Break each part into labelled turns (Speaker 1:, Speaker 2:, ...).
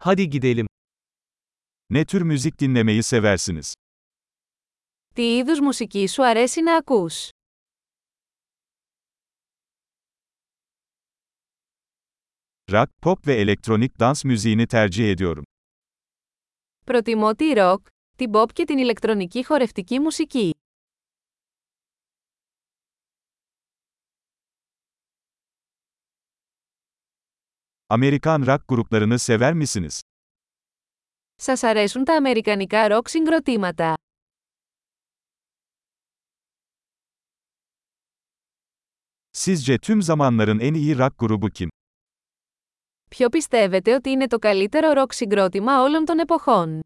Speaker 1: Hadi gidelim.
Speaker 2: Ne tür müzik dinlemeyi seversiniz?
Speaker 3: Τι είδους μουσική σου αρέσει να ακούς?
Speaker 2: Rock, pop ve elektronik dans müziğini tercih ediyorum.
Speaker 3: Προτιμώ τη ροκ, την pop και την ηλεκτρονική χορευτική μουσική.
Speaker 2: Amerikan rock gruplarını sever misiniz?
Speaker 3: Σας αρέσουν τα αμερικανικά ροκ συγκροτήματα.
Speaker 2: Sizce tüm zamanların en iyi rock grubu kim?
Speaker 3: Ποιο πιστεύετε ότι είναι το καλύτερο ροκ συγκρότημα όλων των εποχών?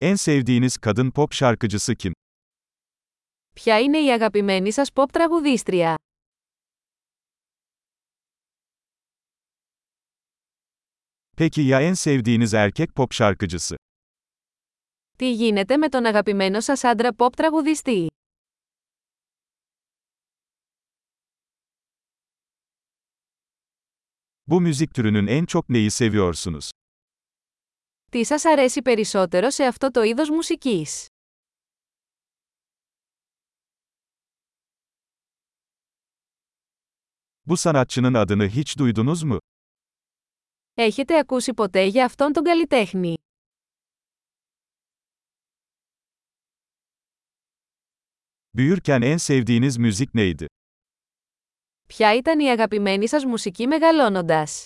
Speaker 2: En sevdiğiniz kadın pop şarkıcısı kim?
Speaker 3: Ποια είναι η αγαπημένη σας pop τραγουδίστρια?
Speaker 2: Peki ya en sevdiğiniz erkek pop şarkıcısı?
Speaker 3: Τι γίνεται με τον αγαπημένο σας άντρα pop τραγουδιστή?
Speaker 2: Bu müzik türünün en çok neyi seviyorsunuz?
Speaker 3: Τι σας αρέσει περισσότερο σε αυτό το είδος μουσικής?
Speaker 2: Bu sanatçının adını hiç duydunuz mu?
Speaker 3: Έχετε ακούσει ποτέ για αυτόν τον καλλιτέχνη?
Speaker 2: Büyürken en sevdiğiniz müzik neydi?
Speaker 3: Ποια ήταν η αγαπημένη σας μουσική μεγαλώνοντας?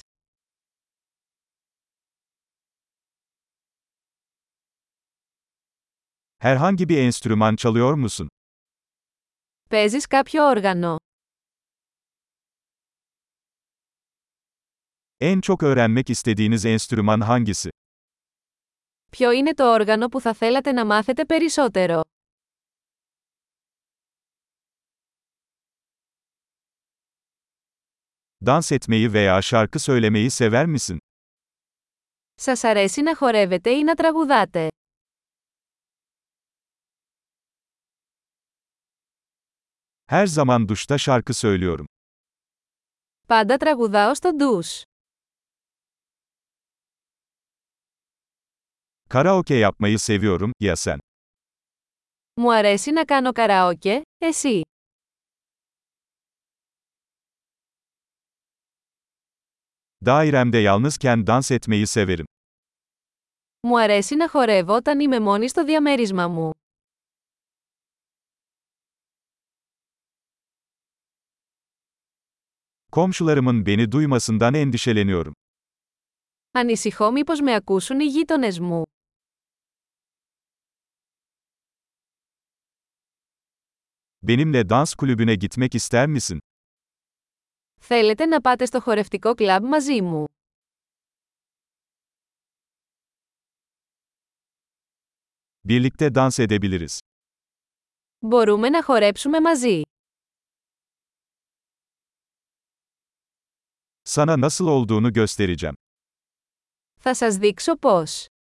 Speaker 2: Herhangi bir enstrüman çalıyor musun?
Speaker 3: Παίζεις κάποιο όργανο.
Speaker 2: En çok öğrenmek istediğiniz enstrüman hangisi?
Speaker 3: Ποιο είναι το όργανο που θα θέλατε να μάθετε περισσότερο.
Speaker 2: Dans etmeyi veya şarkı söylemeyi sever misin?
Speaker 3: Σας αρέσει να χορεύετε ή να τραγουδάτε.
Speaker 2: Her zaman duşta şarkı söylüyorum.
Speaker 3: Πάντα τραγουδάω στο ντους.
Speaker 2: Karaoke yapmayı seviyorum, ya sen?
Speaker 3: Μου αρέσει να κάνω καραόκε, εσύ.
Speaker 2: Dairemde yalnızken dans etmeyi severim.
Speaker 3: Μου αρέσει να χορεύω όταν είμαι μόνη στο διαμέρισμα μου.
Speaker 2: Komşularımın beni duymasından endişeleniyorum.
Speaker 3: Ανησυχώ μήπως με ακούσουν οι γείτονες μου.
Speaker 2: Benimle dans kulübüne gitmek ister misin?
Speaker 3: Θέλετε να πάτε στο χορευτικό κλαμπ μαζί μου.
Speaker 2: Birlikte dans edebiliriz.
Speaker 3: Μπορούμε να χορέψουμε μαζί.
Speaker 2: Sana nasıl olduğunu göstereceğim.
Speaker 3: Θα σας δείξω πώς.